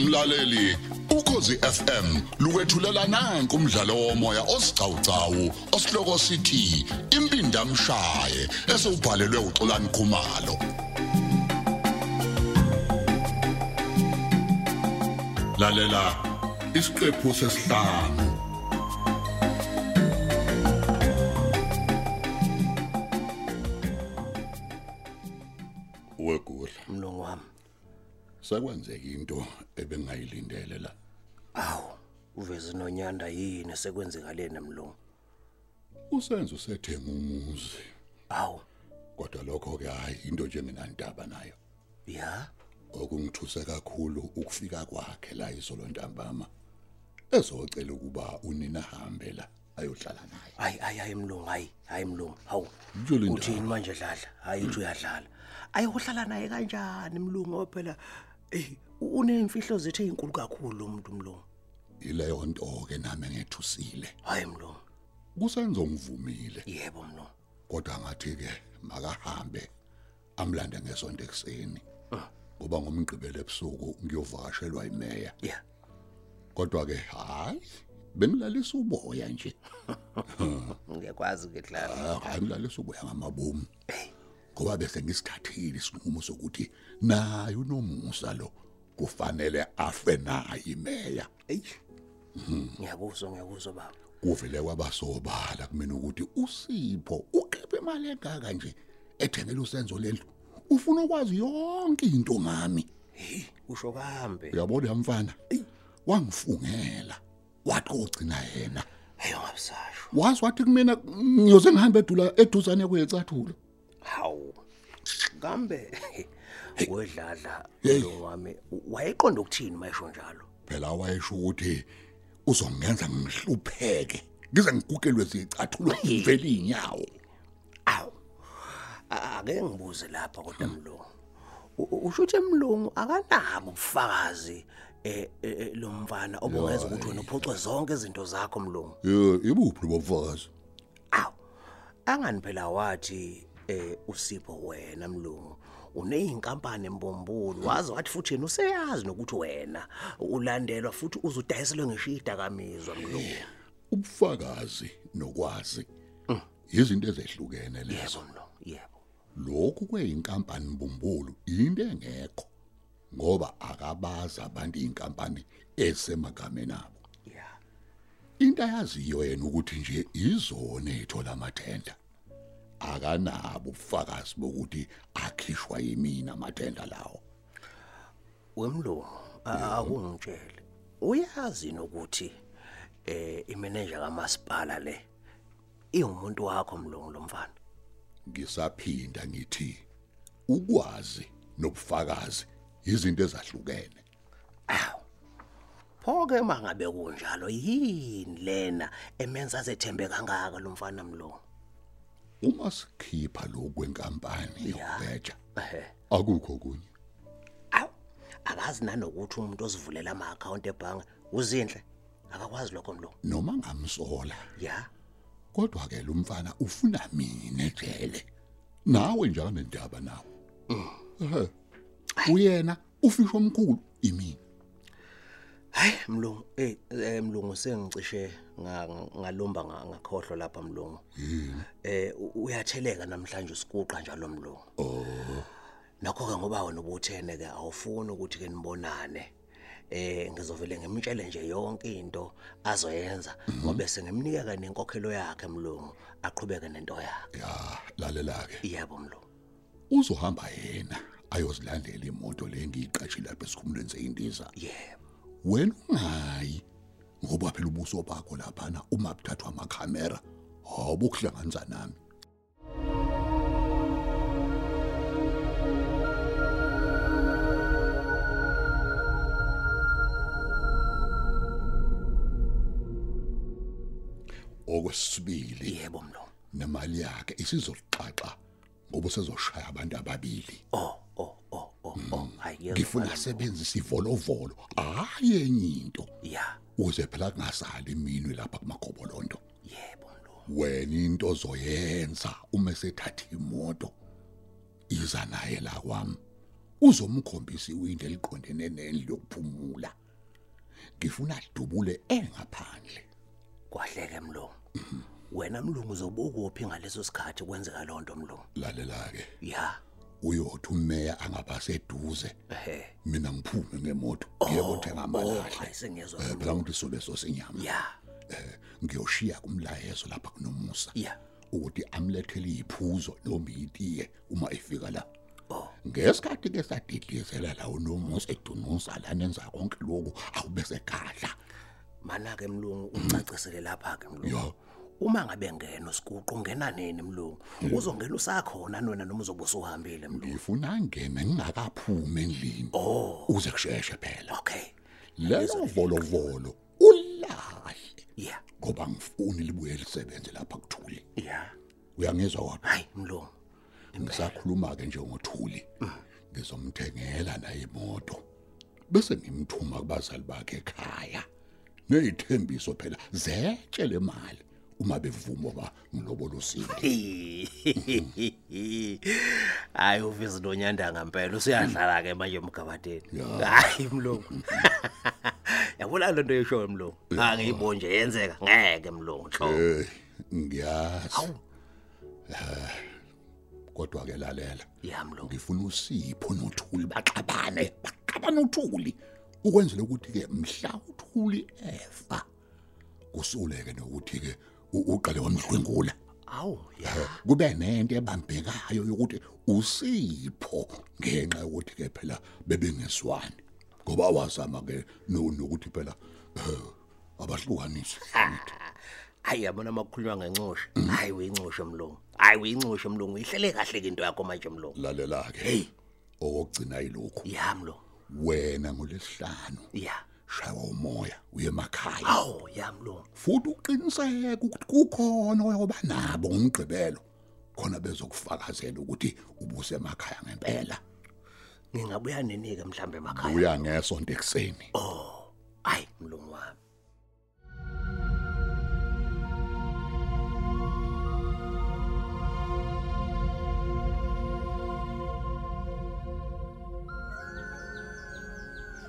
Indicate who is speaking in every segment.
Speaker 1: mlaleli ukhosi FM lukwethulela nanku umdlalo womoya osiqhawqhawo osihloko sithi impindi amshaye esubhalelwe uxolani khumalo lalela isiqephu sesihlanu wegula
Speaker 2: mlungu wami
Speaker 1: sekwenzeka into ebengayilindele la
Speaker 2: awu uveze nonyanda yini sekwenzekaleni mlungu
Speaker 1: usenzo sethenga umuzi
Speaker 2: awu
Speaker 1: kodwa lokho ke hayi into nje nginandaba nayo
Speaker 2: ya
Speaker 1: okungithuse kakhulu ukufika kwakhe la izolo ntambama ezocela ukuba unina hambe la ayohlala naye
Speaker 2: hayi hayi hayi mlungu hayi hayi mlungu hawu
Speaker 1: Utshole indaba.
Speaker 2: uthini manje dladla hayi uthi uyadlala ayi uhlala naye kanjani mlungu ngoba phela eyi unemfihlo zethu ezinkulu kakhulu umuntu mlungu
Speaker 1: ileyo nto ke nami ngethusile
Speaker 2: hayi mlungu
Speaker 1: kusenzo ngivumile
Speaker 2: yebo mlungu
Speaker 1: kodwa ngathi ke makahambe amlande ngesonto ekseni ngoba ngomgqibelo ebusuku ngiyovakashelwa imeya
Speaker 2: ya
Speaker 1: kodwa ke hayi bengilalisa uboya nje
Speaker 2: ngiyakwazi ke dladla
Speaker 1: Ah, hayi mlalisa uboya ngamabomu ngoba bese ngisithathile isinqumo sokuthi naye unomusa lo kufanele afe naye imeya
Speaker 2: eyi ngiyakuzwa ngiyakuzwa baba
Speaker 1: kuvele kwabasobala kumina ukuthi usipho uqephe imali engaka nje ethengele usenzo lendlu ufuna ukwazi yonke into ngami
Speaker 2: heyi usho kambe
Speaker 1: uyabona yamfana wangifungela wathi ogcina yena
Speaker 2: hayi ongabusasho
Speaker 1: wazi wathi kumina ngiyoze ngihambe edula eduzane kweyecathulo
Speaker 2: Hawu. Kambe wedlala
Speaker 1: Hey.
Speaker 2: lo wami wayeqonda ukuthini mayisho njalo?
Speaker 1: phela wayesho ukuthi uzongenza ngihlupheke ngize ngigugelwe zicathulo ngivele inyawo
Speaker 2: Awu. A- Ake ngibuze lapha kodwa mlungu. U- u- Usho ukuthi mlungu akanabo ubufakazi eh eh, eh, lo mfana obungeza ukuthi wena uphucwe zonke izinto zakho mlungu.
Speaker 1: Yebo, ibuphi lobufakazi?
Speaker 2: Awu. Angani phela wathi eh usipho wena mlungu. uneyinkampani embombulu waze wathi futhi yena useyazi nokuthi wena ulandelwa futhi uzudayiselwe ngisho idakamizwa mlungu
Speaker 1: Ubufakazi nokwazi. Izinto ezehlukene lezo.
Speaker 2: yebo mlo yebo
Speaker 1: Lokhu kweinkampani bumbulu into engekho. Ngoba akabaza abantu inkampani esemagameni abo.
Speaker 2: ya
Speaker 1: Into ayaziyo yena ukuthi nje izona ethola amathenda. Akanabo ubufakazi bokuthi akhishwa yimina amathenda lawo.
Speaker 2: wemlungu a- akungitshele uyazi nokuthi eh imeneja kamasipala le iwumuntu wakho mlungu lo mfana
Speaker 1: ngisaphinda ngithi ukwazi nobufakazi izinto ezahlukene
Speaker 2: awu pho ke mangabe kunjalo yini lena emenza azethembe kangaka lo mfana mlungu
Speaker 1: uma sikhipha lokwenkampani yokubeja
Speaker 2: ehe
Speaker 1: akukho kunye
Speaker 2: awu akazi nanokuthi umuntu ozivulela ama-akhawunti ebhange uzinhle akakwazi lokho mlungu
Speaker 1: noma ngamsola
Speaker 2: ya
Speaker 1: kodwa ke lo mfana ufuna mina ejele nawe njalo nendaba nawe Ehhe. uyena ufisho omkhulu imini
Speaker 2: hayi mlungu eh eh, mlungu sengicishe nga- nga- ngalumba nga- ngakhohlwa lapha mlungu eh u- uyatheleka namhlanje usikuqa njalo mlungu nakho ke ngoba wena ubuthene ke awufuni ukuthi ke nibonane eh ngizovele ngimtshele nje yonke into azoyenza ngoba sengimnika ke nenkokhelo yakhe mlungu aqhubeke nento yakhe
Speaker 1: ya lalela ke
Speaker 2: yebo mlungu
Speaker 1: uzohamba yena ayozilandela imoto le ngiyiqashile lapha esikhumulweni seyindiza
Speaker 2: yebo
Speaker 1: wena ungayi ngoba phela ubuso bakho laphana uma kuthathwa amakhamera awubo kuhlanganisa nami okwesibili
Speaker 2: yebo mlungu
Speaker 1: nemali yakhe isizoxaxa ngoba usezoshaya abantu ababili
Speaker 2: oh oh oh oh oh hayi yezwakala,
Speaker 1: ngifuna
Speaker 2: mlungu.
Speaker 1: asebenzise ivolovolo hayi enye into
Speaker 2: ya
Speaker 1: uze phela kungasali minwe lapha kumagobolondo
Speaker 2: yebo mlungu
Speaker 1: wena into ozoyenza uma sethatha imoto iza naye la kwami uzomkhombisa iwindi eliqondene nendlu yokuphumula ngifuna adubule engaphandle
Speaker 2: kwahleke mlungu wena mlungu uzobukuphi ngaleso sikhathi kwenzeka lonto mlungu
Speaker 1: lalela ke
Speaker 2: ya
Speaker 1: uyothi umeya angabaseduze
Speaker 2: ehe
Speaker 1: mina ngiphume ngemoto ngiyokuthenga amalahle
Speaker 2: hayi sengiyezwa
Speaker 1: Eh, phela ngithi sobeso sinyama
Speaker 2: ya
Speaker 1: Eh, ngiyoshiya kumlayezo lapha kunomusa
Speaker 2: ya
Speaker 1: ukuthi amlethele iphuzo noma itiye uma efika la
Speaker 2: oh
Speaker 1: ngesikhathi ke sadidizela la unomusa edunusa lanenza konke lokhu awubese gadla
Speaker 2: mana ke mlungu ucacisele lapha ke
Speaker 1: Ya.
Speaker 2: mlungu uma ngabe ngena usikuqo ungena nini mlungu uzongena usakhona nona noma uzobe usuhambile mlungu
Speaker 1: ngifuna ngene ngingakaphumi endlini
Speaker 2: oh
Speaker 1: uze kusheshe phela
Speaker 2: okay
Speaker 1: lelo volovolo ulahle
Speaker 2: ya
Speaker 1: ngoba ngifuni libuye lisebenze lapha kuthuli
Speaker 2: ya
Speaker 1: uyangizwa wapha
Speaker 2: hayi mlungu
Speaker 1: ngisakhuluma ke nje ngothuli ngizomthengela la imoto bese ngimthuma kubazali bakhe ekhaya nezithembiso phela zetshe le mali uma bevuma ba ngilobolo sini
Speaker 2: hayi uvisi nonyanda ngempela usuyadlala ke manje emgabateni hayi mlungu yabona lento yeshoyo mlungu angiyiboni nje yenzeka ngeke mlungu hlo
Speaker 1: eh ngiyazi Eh, kodwa ke lalela
Speaker 2: ya mlungu
Speaker 1: ngifuna usipho nothuli baxabane baxabane uthuli ukwenzela ukuthi ke mhla uthuli efa kusuleke nokuthi ke u- uqale wamdlwengula
Speaker 2: awu ya
Speaker 1: kube nento ebambekayo yokuthi usipho ngenxa yokuthi ke phela bebengeswani ngoba wazama ke no- nokuthi phela eh, abahlukanise
Speaker 2: hayi yabona makukhulunywa ngencoshe hayi uyincoshe mlungu hayi uyincoshe mlungu ihlele kahle ke into yakho manje mlungu
Speaker 1: lalela ke okugcina yilokhu
Speaker 2: ya mlungu
Speaker 1: wena ngolesihlanu
Speaker 2: ya
Speaker 1: shawa umoya uye emakhaya
Speaker 2: awu ya mlungu
Speaker 1: futhi uqiniseke ukuthi kukhona oyoba nabo ngomgqibelo khona bezokufakazela ukuthi ubuse emakhaya ngempela
Speaker 2: ngingabuya nini ke mhlambe emakhaya Oh,
Speaker 1: uya ngesonto ekuseni
Speaker 2: hayi mlungu wami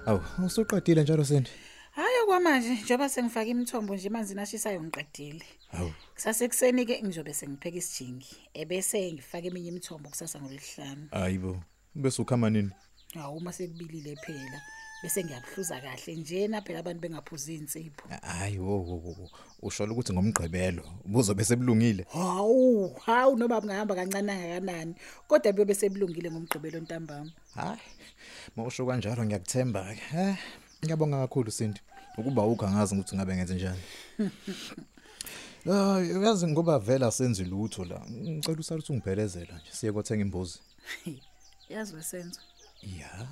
Speaker 3: awu usuqedile njalo sindi
Speaker 4: Hayi okwamanje njengoba sengifake imithombo nje emanzini ashisayo ngiqedile.
Speaker 3: awu
Speaker 4: Kusasekuseni ke ngizobe sengipheka isijingi ebese ngifake eminye imithombo kusasa ngolesihlanu.
Speaker 3: ayibo bese ukhama nini
Speaker 4: Hawu uma sekubilile phela bese ngiyabhluza kahle njena phela abantu bengaphuzi insipho.
Speaker 3: hayi wo wo wo, wo usho ukuthi ngomgqibelo buzobe sebulungile
Speaker 4: Hawu, hawu noma ngihamba kancane kangakanani kodwa beyobe sebulungile ngomgqibelo ntambama.
Speaker 3: hayi mawusho kanjalo ngiyakuthemba ke eh ngiyabonga kakhulu sindi ukuba ukangazi ukuthi ngabe ngenze njani Hayi uyazi ngoba vela senzi lutho la ngicela usale uthi ungibhelezela nje siye kothenga imbuzi
Speaker 4: Yazi wesenzo.
Speaker 3: ya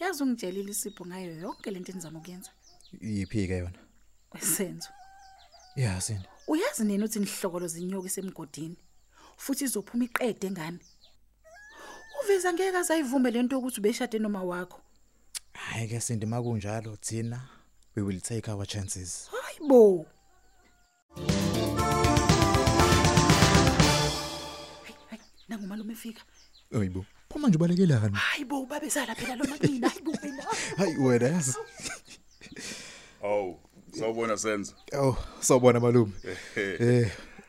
Speaker 4: Yazi ungitshelile isipho ngayo yonke lento enzama ukuyenza.
Speaker 3: iphi ke yona
Speaker 4: Wesenzo.
Speaker 3: ya sindi
Speaker 4: Uyazi nini uthi inhlokolo zinyoka isemgodini futhi izophuma iqede ngani? Uveza ngeke azayivume lento ukuthi ubeshade noma wakho.
Speaker 3: hayi ke sindi makunjalo thina we will take our chances
Speaker 4: Hayibo. Nangumalume efika.
Speaker 3: Hayibo. Phuma nje ubalekela kana.
Speaker 4: Hayibo babezala phela lo makina. Hayibo mina.
Speaker 3: Hayi wena yazi.
Speaker 5: Aw, sawubona senzo.
Speaker 3: Oh, sawubona malume. Eh,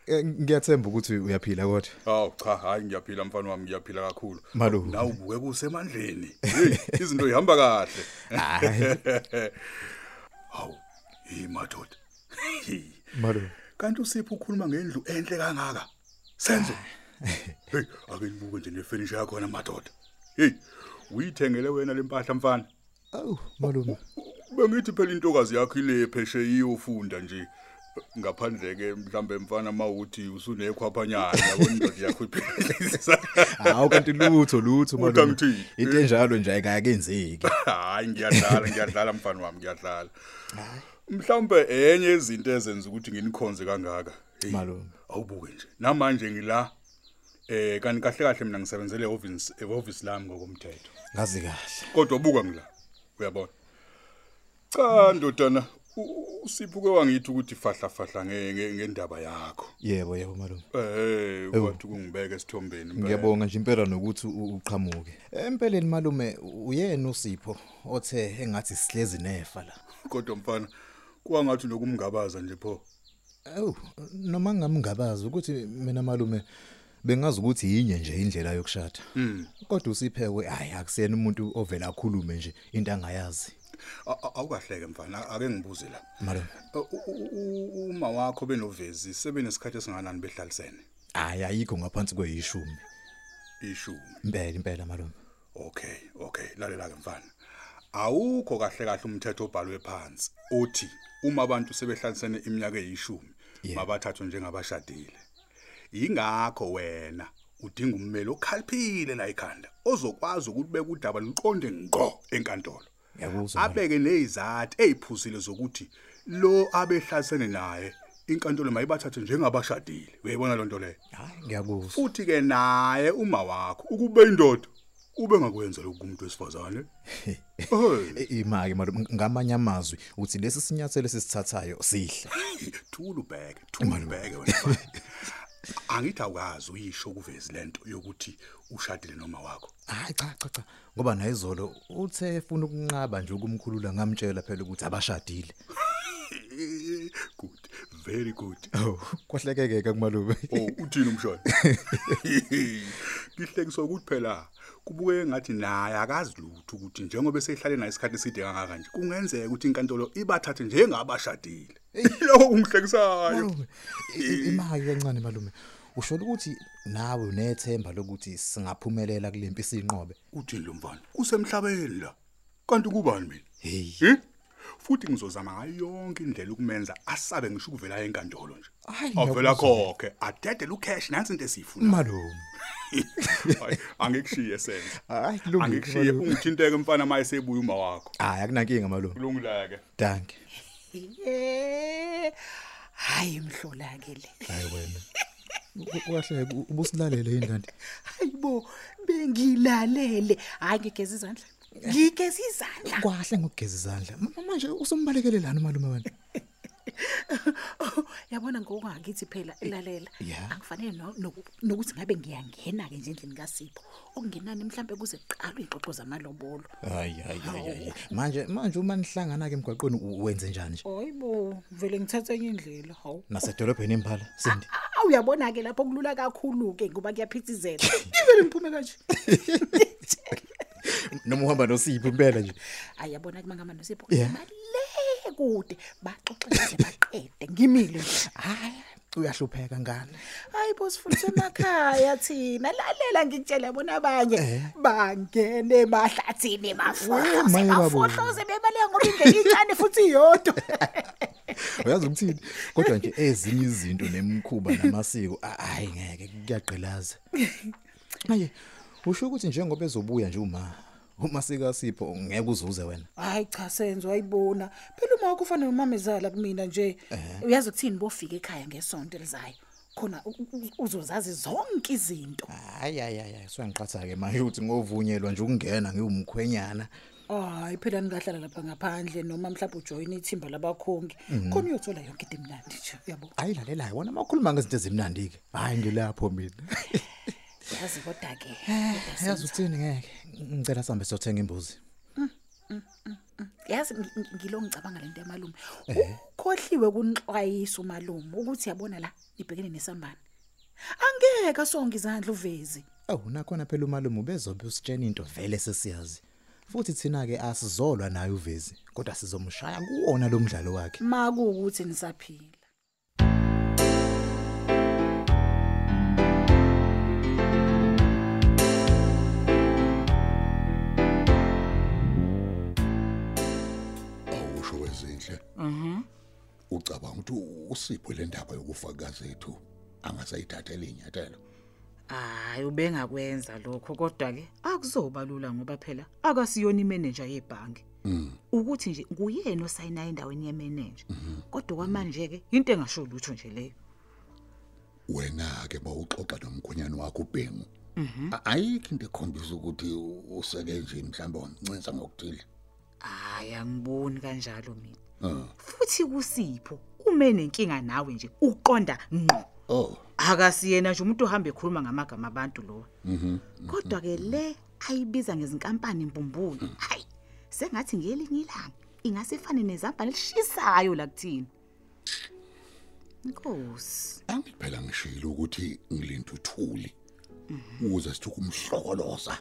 Speaker 3: eh, ngiyathemba ukuthi uyaphila kodwa.
Speaker 5: Aw cha, hayi ngiyaphila mfana wami, ngiyaphila kakhulu.
Speaker 3: Malume.
Speaker 5: Nawu buke kusemandleni. Hey, izinto ihamba kahle.
Speaker 3: Hayi,
Speaker 5: Aw, hey madod.
Speaker 3: malume.
Speaker 5: Kanti usipho ukhuluma ngendlu enhle kangaka. Senzo. Hey, ake libuke nje nefurniture yakho na madod. Hey, uyithengele wena lempahla mfana.
Speaker 3: Oh, malume.
Speaker 5: Bengithi phela intokazi yakho ile pheshe iyofunda nje. ngaphandle ke mhlambe mfana mawuthi usunekhwaphanyana yabona indoda yakho iphezisa
Speaker 3: Hawu kanti lutho lutho
Speaker 5: Uthi
Speaker 3: malume.
Speaker 5: angithini?
Speaker 3: Into enjalo nje ayikayenzeki.
Speaker 5: hayi ngiyadlala ngiyadlala mfana wami ngiyadlala mhlawumbe enye izinto ezenza ukuthi nginikhonze kangaka Hey,
Speaker 3: Malume.
Speaker 5: awubuke nje namanje ngila eh kanti kahle kahle mina ngisebenzele office office lami ngokomthetho
Speaker 3: Ngazi kahle.
Speaker 5: kodwa ubuka ngila uyabona cha ndodana u- usiphuke wangithi ukuthi fahla fahla nge- nge- ngendaba yakho
Speaker 3: yebo yebo malume
Speaker 5: eh kwathi kungibeka esithombeni impela.
Speaker 3: ngiyabonga nje impela nokuthi u- uqhamuke empeleni malume uyena usipho othe engathi sihlezi nefa la
Speaker 5: kodwa mfana kwangathi nokumngabaza nje pho
Speaker 3: awu noma ngingamngabazi ukuthi mina malume bengazi ukuthi yinye nje indlela yokushada kodwa usiphekwe hayi akusena umuntu ovela akhulume nje into angayazi
Speaker 5: A- a- awukahleke mfana ake ngibuze la
Speaker 3: malume
Speaker 5: U- u- u- uma wakho benovezi sebenesikhathi esinganani behlalisene
Speaker 3: hayi ayikho ngaphansi kweyishumi
Speaker 5: ishumi
Speaker 3: impela impela malume
Speaker 5: Okay, okay, lalela ke mfana. Awukho kahle kahle umthetho obhalwe phansi othi uma abantu sebehlanisene iminyaka eyishumi mabathathwe njengabashadile. Ingakho wena udinga ummeli okhaliphile la ekhanda ozokwazi ukuthi beke udaba luqonde ngqo enkantolo.
Speaker 3: Ngiyakuzwa, Malume.
Speaker 5: Abeke nezizathu eziphuzile zokuthi lo abehlanisene naye inkantolo mayibathathe njengabashadile. Uyayibona lento leyo?
Speaker 3: hayi ngiyakuzwa
Speaker 5: futhi ke naye uma wakho ukube indoda ube ngakwenza lokhu kumuntu wesifazane hey
Speaker 3: E- ima ke malume ngamanye amazwi uthi lesi sinyathelo sisithathayo sihle
Speaker 5: thula ubheke thula ubheke wena mfana. angithi awukazi uyisho kuvezi lento yokuthi ushadile noma wakho
Speaker 3: hayi cha cha cha ngoba naye izolo uthe efuna ukunqaba nje ukumkhulula ngamtshela phela ukuthi abashadile
Speaker 5: good very good
Speaker 3: oh kwahlekeke ke kumalume
Speaker 5: oh uthini umshana ngihlekiswa ukuthi phela kubuke ngathi naye akazi lutho ukuthi njengoba esehlale naye isikhathi eside kangaka nje kungenzeka ukuthi inkantolo ibathathe njengabashadile lokho kungihlekisayo
Speaker 3: Malume, i- i- imali kancane malume usho ukuthi nawe unethemba lokuthi singaphumelela kulempi sinqobe
Speaker 5: uthini lo mfana usemhlabeni la kanti kubani mina
Speaker 3: hey
Speaker 5: hi futhi ngizozama ngayo yonke indlela ukumenza asabe ngisho ukuvela enkantolo nje
Speaker 3: Hayi,
Speaker 5: avela
Speaker 3: ngiyakuzwa.
Speaker 5: khokhe adedele ucash nansi into esifuna
Speaker 3: malume
Speaker 5: Hayi, angikushiye senze
Speaker 3: hayi
Speaker 5: angikushiye
Speaker 3: malume.
Speaker 5: ungithinteke mfana maye sebuya uma wakho
Speaker 3: hayi akunankinga malume
Speaker 5: kulungile ke
Speaker 3: danke
Speaker 4: Eh. Hayi mhlola ke le.
Speaker 3: hayi wena kwahle ubusilalele indandi
Speaker 4: Hayibo bengilalele. Hayi ngigeza izandla. Ngigeza izandla.
Speaker 3: kwahle ngokugeza izandla Ma- manje usombalekelelana malume wena
Speaker 4: Oh, Yabona ngokungakithi phela ilalela.
Speaker 3: Eh, Yeah.
Speaker 4: Angifanele no- noku- nokuthi ngabe ngiyangena ke nje endlini kaSipho. Okungenani mhlambe kuze kuqalwe iqoqo zamalobolo.
Speaker 3: hayi hayi hayi hayi. manje manje uma nihlangana ke emgwaqweni u- wenze njani nje
Speaker 4: Hayibo vele ngithatha enye indlela. Hawu.
Speaker 3: nasedolobheni imphala sindi
Speaker 4: Awuyabona ke lapho kulula kakhulu ke ngoba kuyaphithizela. Ngivele ngiphume kanje.
Speaker 3: noma uhamba nosipho impela nje
Speaker 4: ayabona ke mangama nosipho
Speaker 3: Yeah.
Speaker 4: imali kude baxoxele baqede ngimile nje
Speaker 3: hayi uyahlupheka ngane
Speaker 4: hayi boss futhi emakhaya thina lalela ngikutshela bona abanye
Speaker 3: Eh.
Speaker 4: bangene emahlathini bafohloze
Speaker 3: maye babo.
Speaker 4: bafohloze bebale ngoba ingene itshane futhi iyodwa
Speaker 3: uyazi ukuthini kodwa nje ezinye izinto nemikhuba namasiko a- ayi ngeke kuyagqilaza manje usho ukuthi njengoba ezobuya nje uma uma sikasipho ngeke uzuze wena
Speaker 4: hayi cha senzo ayibona phela uma wakho ufana nomamezala kumina nje
Speaker 3: Eh.
Speaker 4: uyazi ukuthini bofika ekhaya ngesonto elizayo khona u- u- uzozazi zonke izinto
Speaker 3: hayi hayi hayi soyangiqatha ke manje uthi ngovunyelwa nje ukungena ngiwumkhwenyana
Speaker 4: hayi phela ningahlala lapha ngaphandle noma mhlawumbe ujoyine ithimba labakhongi
Speaker 3: Mm.
Speaker 4: khona uyothola yonke into emnandi nje uyabo
Speaker 3: ayilalelayo wona makhuluma ngezinto ezimnandi ke hayi ngilapho mina
Speaker 4: yazi kodwa-ke
Speaker 3: Eh, yazi uthini ngeke ngicela sambe sothenga imbuzi
Speaker 4: yazi ngi- ngi- ngilo ngicabanga lento yamalume ukhohliwe kunixwayisa umalume ukuthi yabona la nibhekene nesambane angeke asonge izandla uvezi
Speaker 3: awu Oh, nakhona phela umalume ubezobe usitshena into vele sesiyazi futhi thina ke asizolwa naye uvezi kodwa sizomshaya kuwona lo mdlalo wakhe
Speaker 4: makuwukuthi nisaphila
Speaker 1: awusho wezinhle mhm ucabanga ukuthi usipho le ndaba yokufa kazethu angasayithathela inyathelo
Speaker 6: hayi ubengakwenza lokho kodwa-ke akuzoba lula ngoba phela akasiyona imeneja yebhange
Speaker 1: Mm.
Speaker 6: ukuthi nje nguyena osayinayo endaweni yemeneja kodwa kwamanje-ke into engasho lutho nje leyo
Speaker 1: wena ke bawuxoxa nomkhonyane wakho uBhengu A- ayikho into ekhombisa ukuthi u- useke nje mhlawumbe wamncinza ngokuthile
Speaker 6: hhayi angiboni kanjalo mina
Speaker 4: futhi kusipho ume nenkinga nawe nje uqonda ngqo
Speaker 1: Oh,
Speaker 4: akasiyena nje umuntu uhamba ekhuluma ngamagama abantu lo kodwa ke le ayibiza ngezinkampani mbumbulu hayi sengathi ngelinye ilanga ingasefane nezambane lishisayo la kuthina inkosi
Speaker 1: angiphela ngishilo ukuthi ngilinda uthuli. Uze sithuke umhlokoloza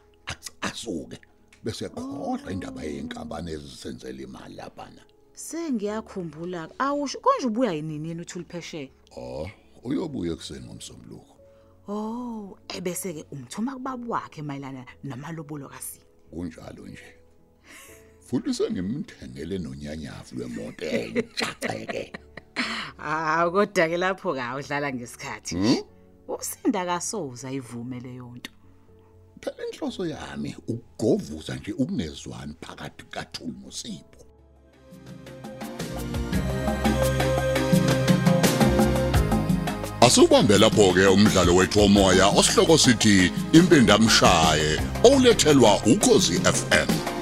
Speaker 1: asuke bese yakhohlwa indaba yenkampani ezisenzele imali labana.
Speaker 4: sengiyakhumbula awusho konje ubuya yini yena uthuli phesheya
Speaker 1: Oh, uyobuya ekseni ngomsombuluko.
Speaker 4: Oh, ebese ke umthuma kubaba wakhe mayelana namalobulo kasini.
Speaker 1: Kunjalo nje. Futhi sengimthengele nonyanyavu lwemoto entshaxeke.
Speaker 4: Ah, kodwa ke lapho ka udlala
Speaker 1: Mm.
Speaker 4: ngesikhathi. Usinda kasoza ivume le yonto.
Speaker 1: Phela inhloso yami ukugovuza nje ukunezwani phakathi kaThuli noSipho. Asubambe lapho ke umdlalo wethu omoya osihloko sithi impindamshaye olethelwa ukozi FM.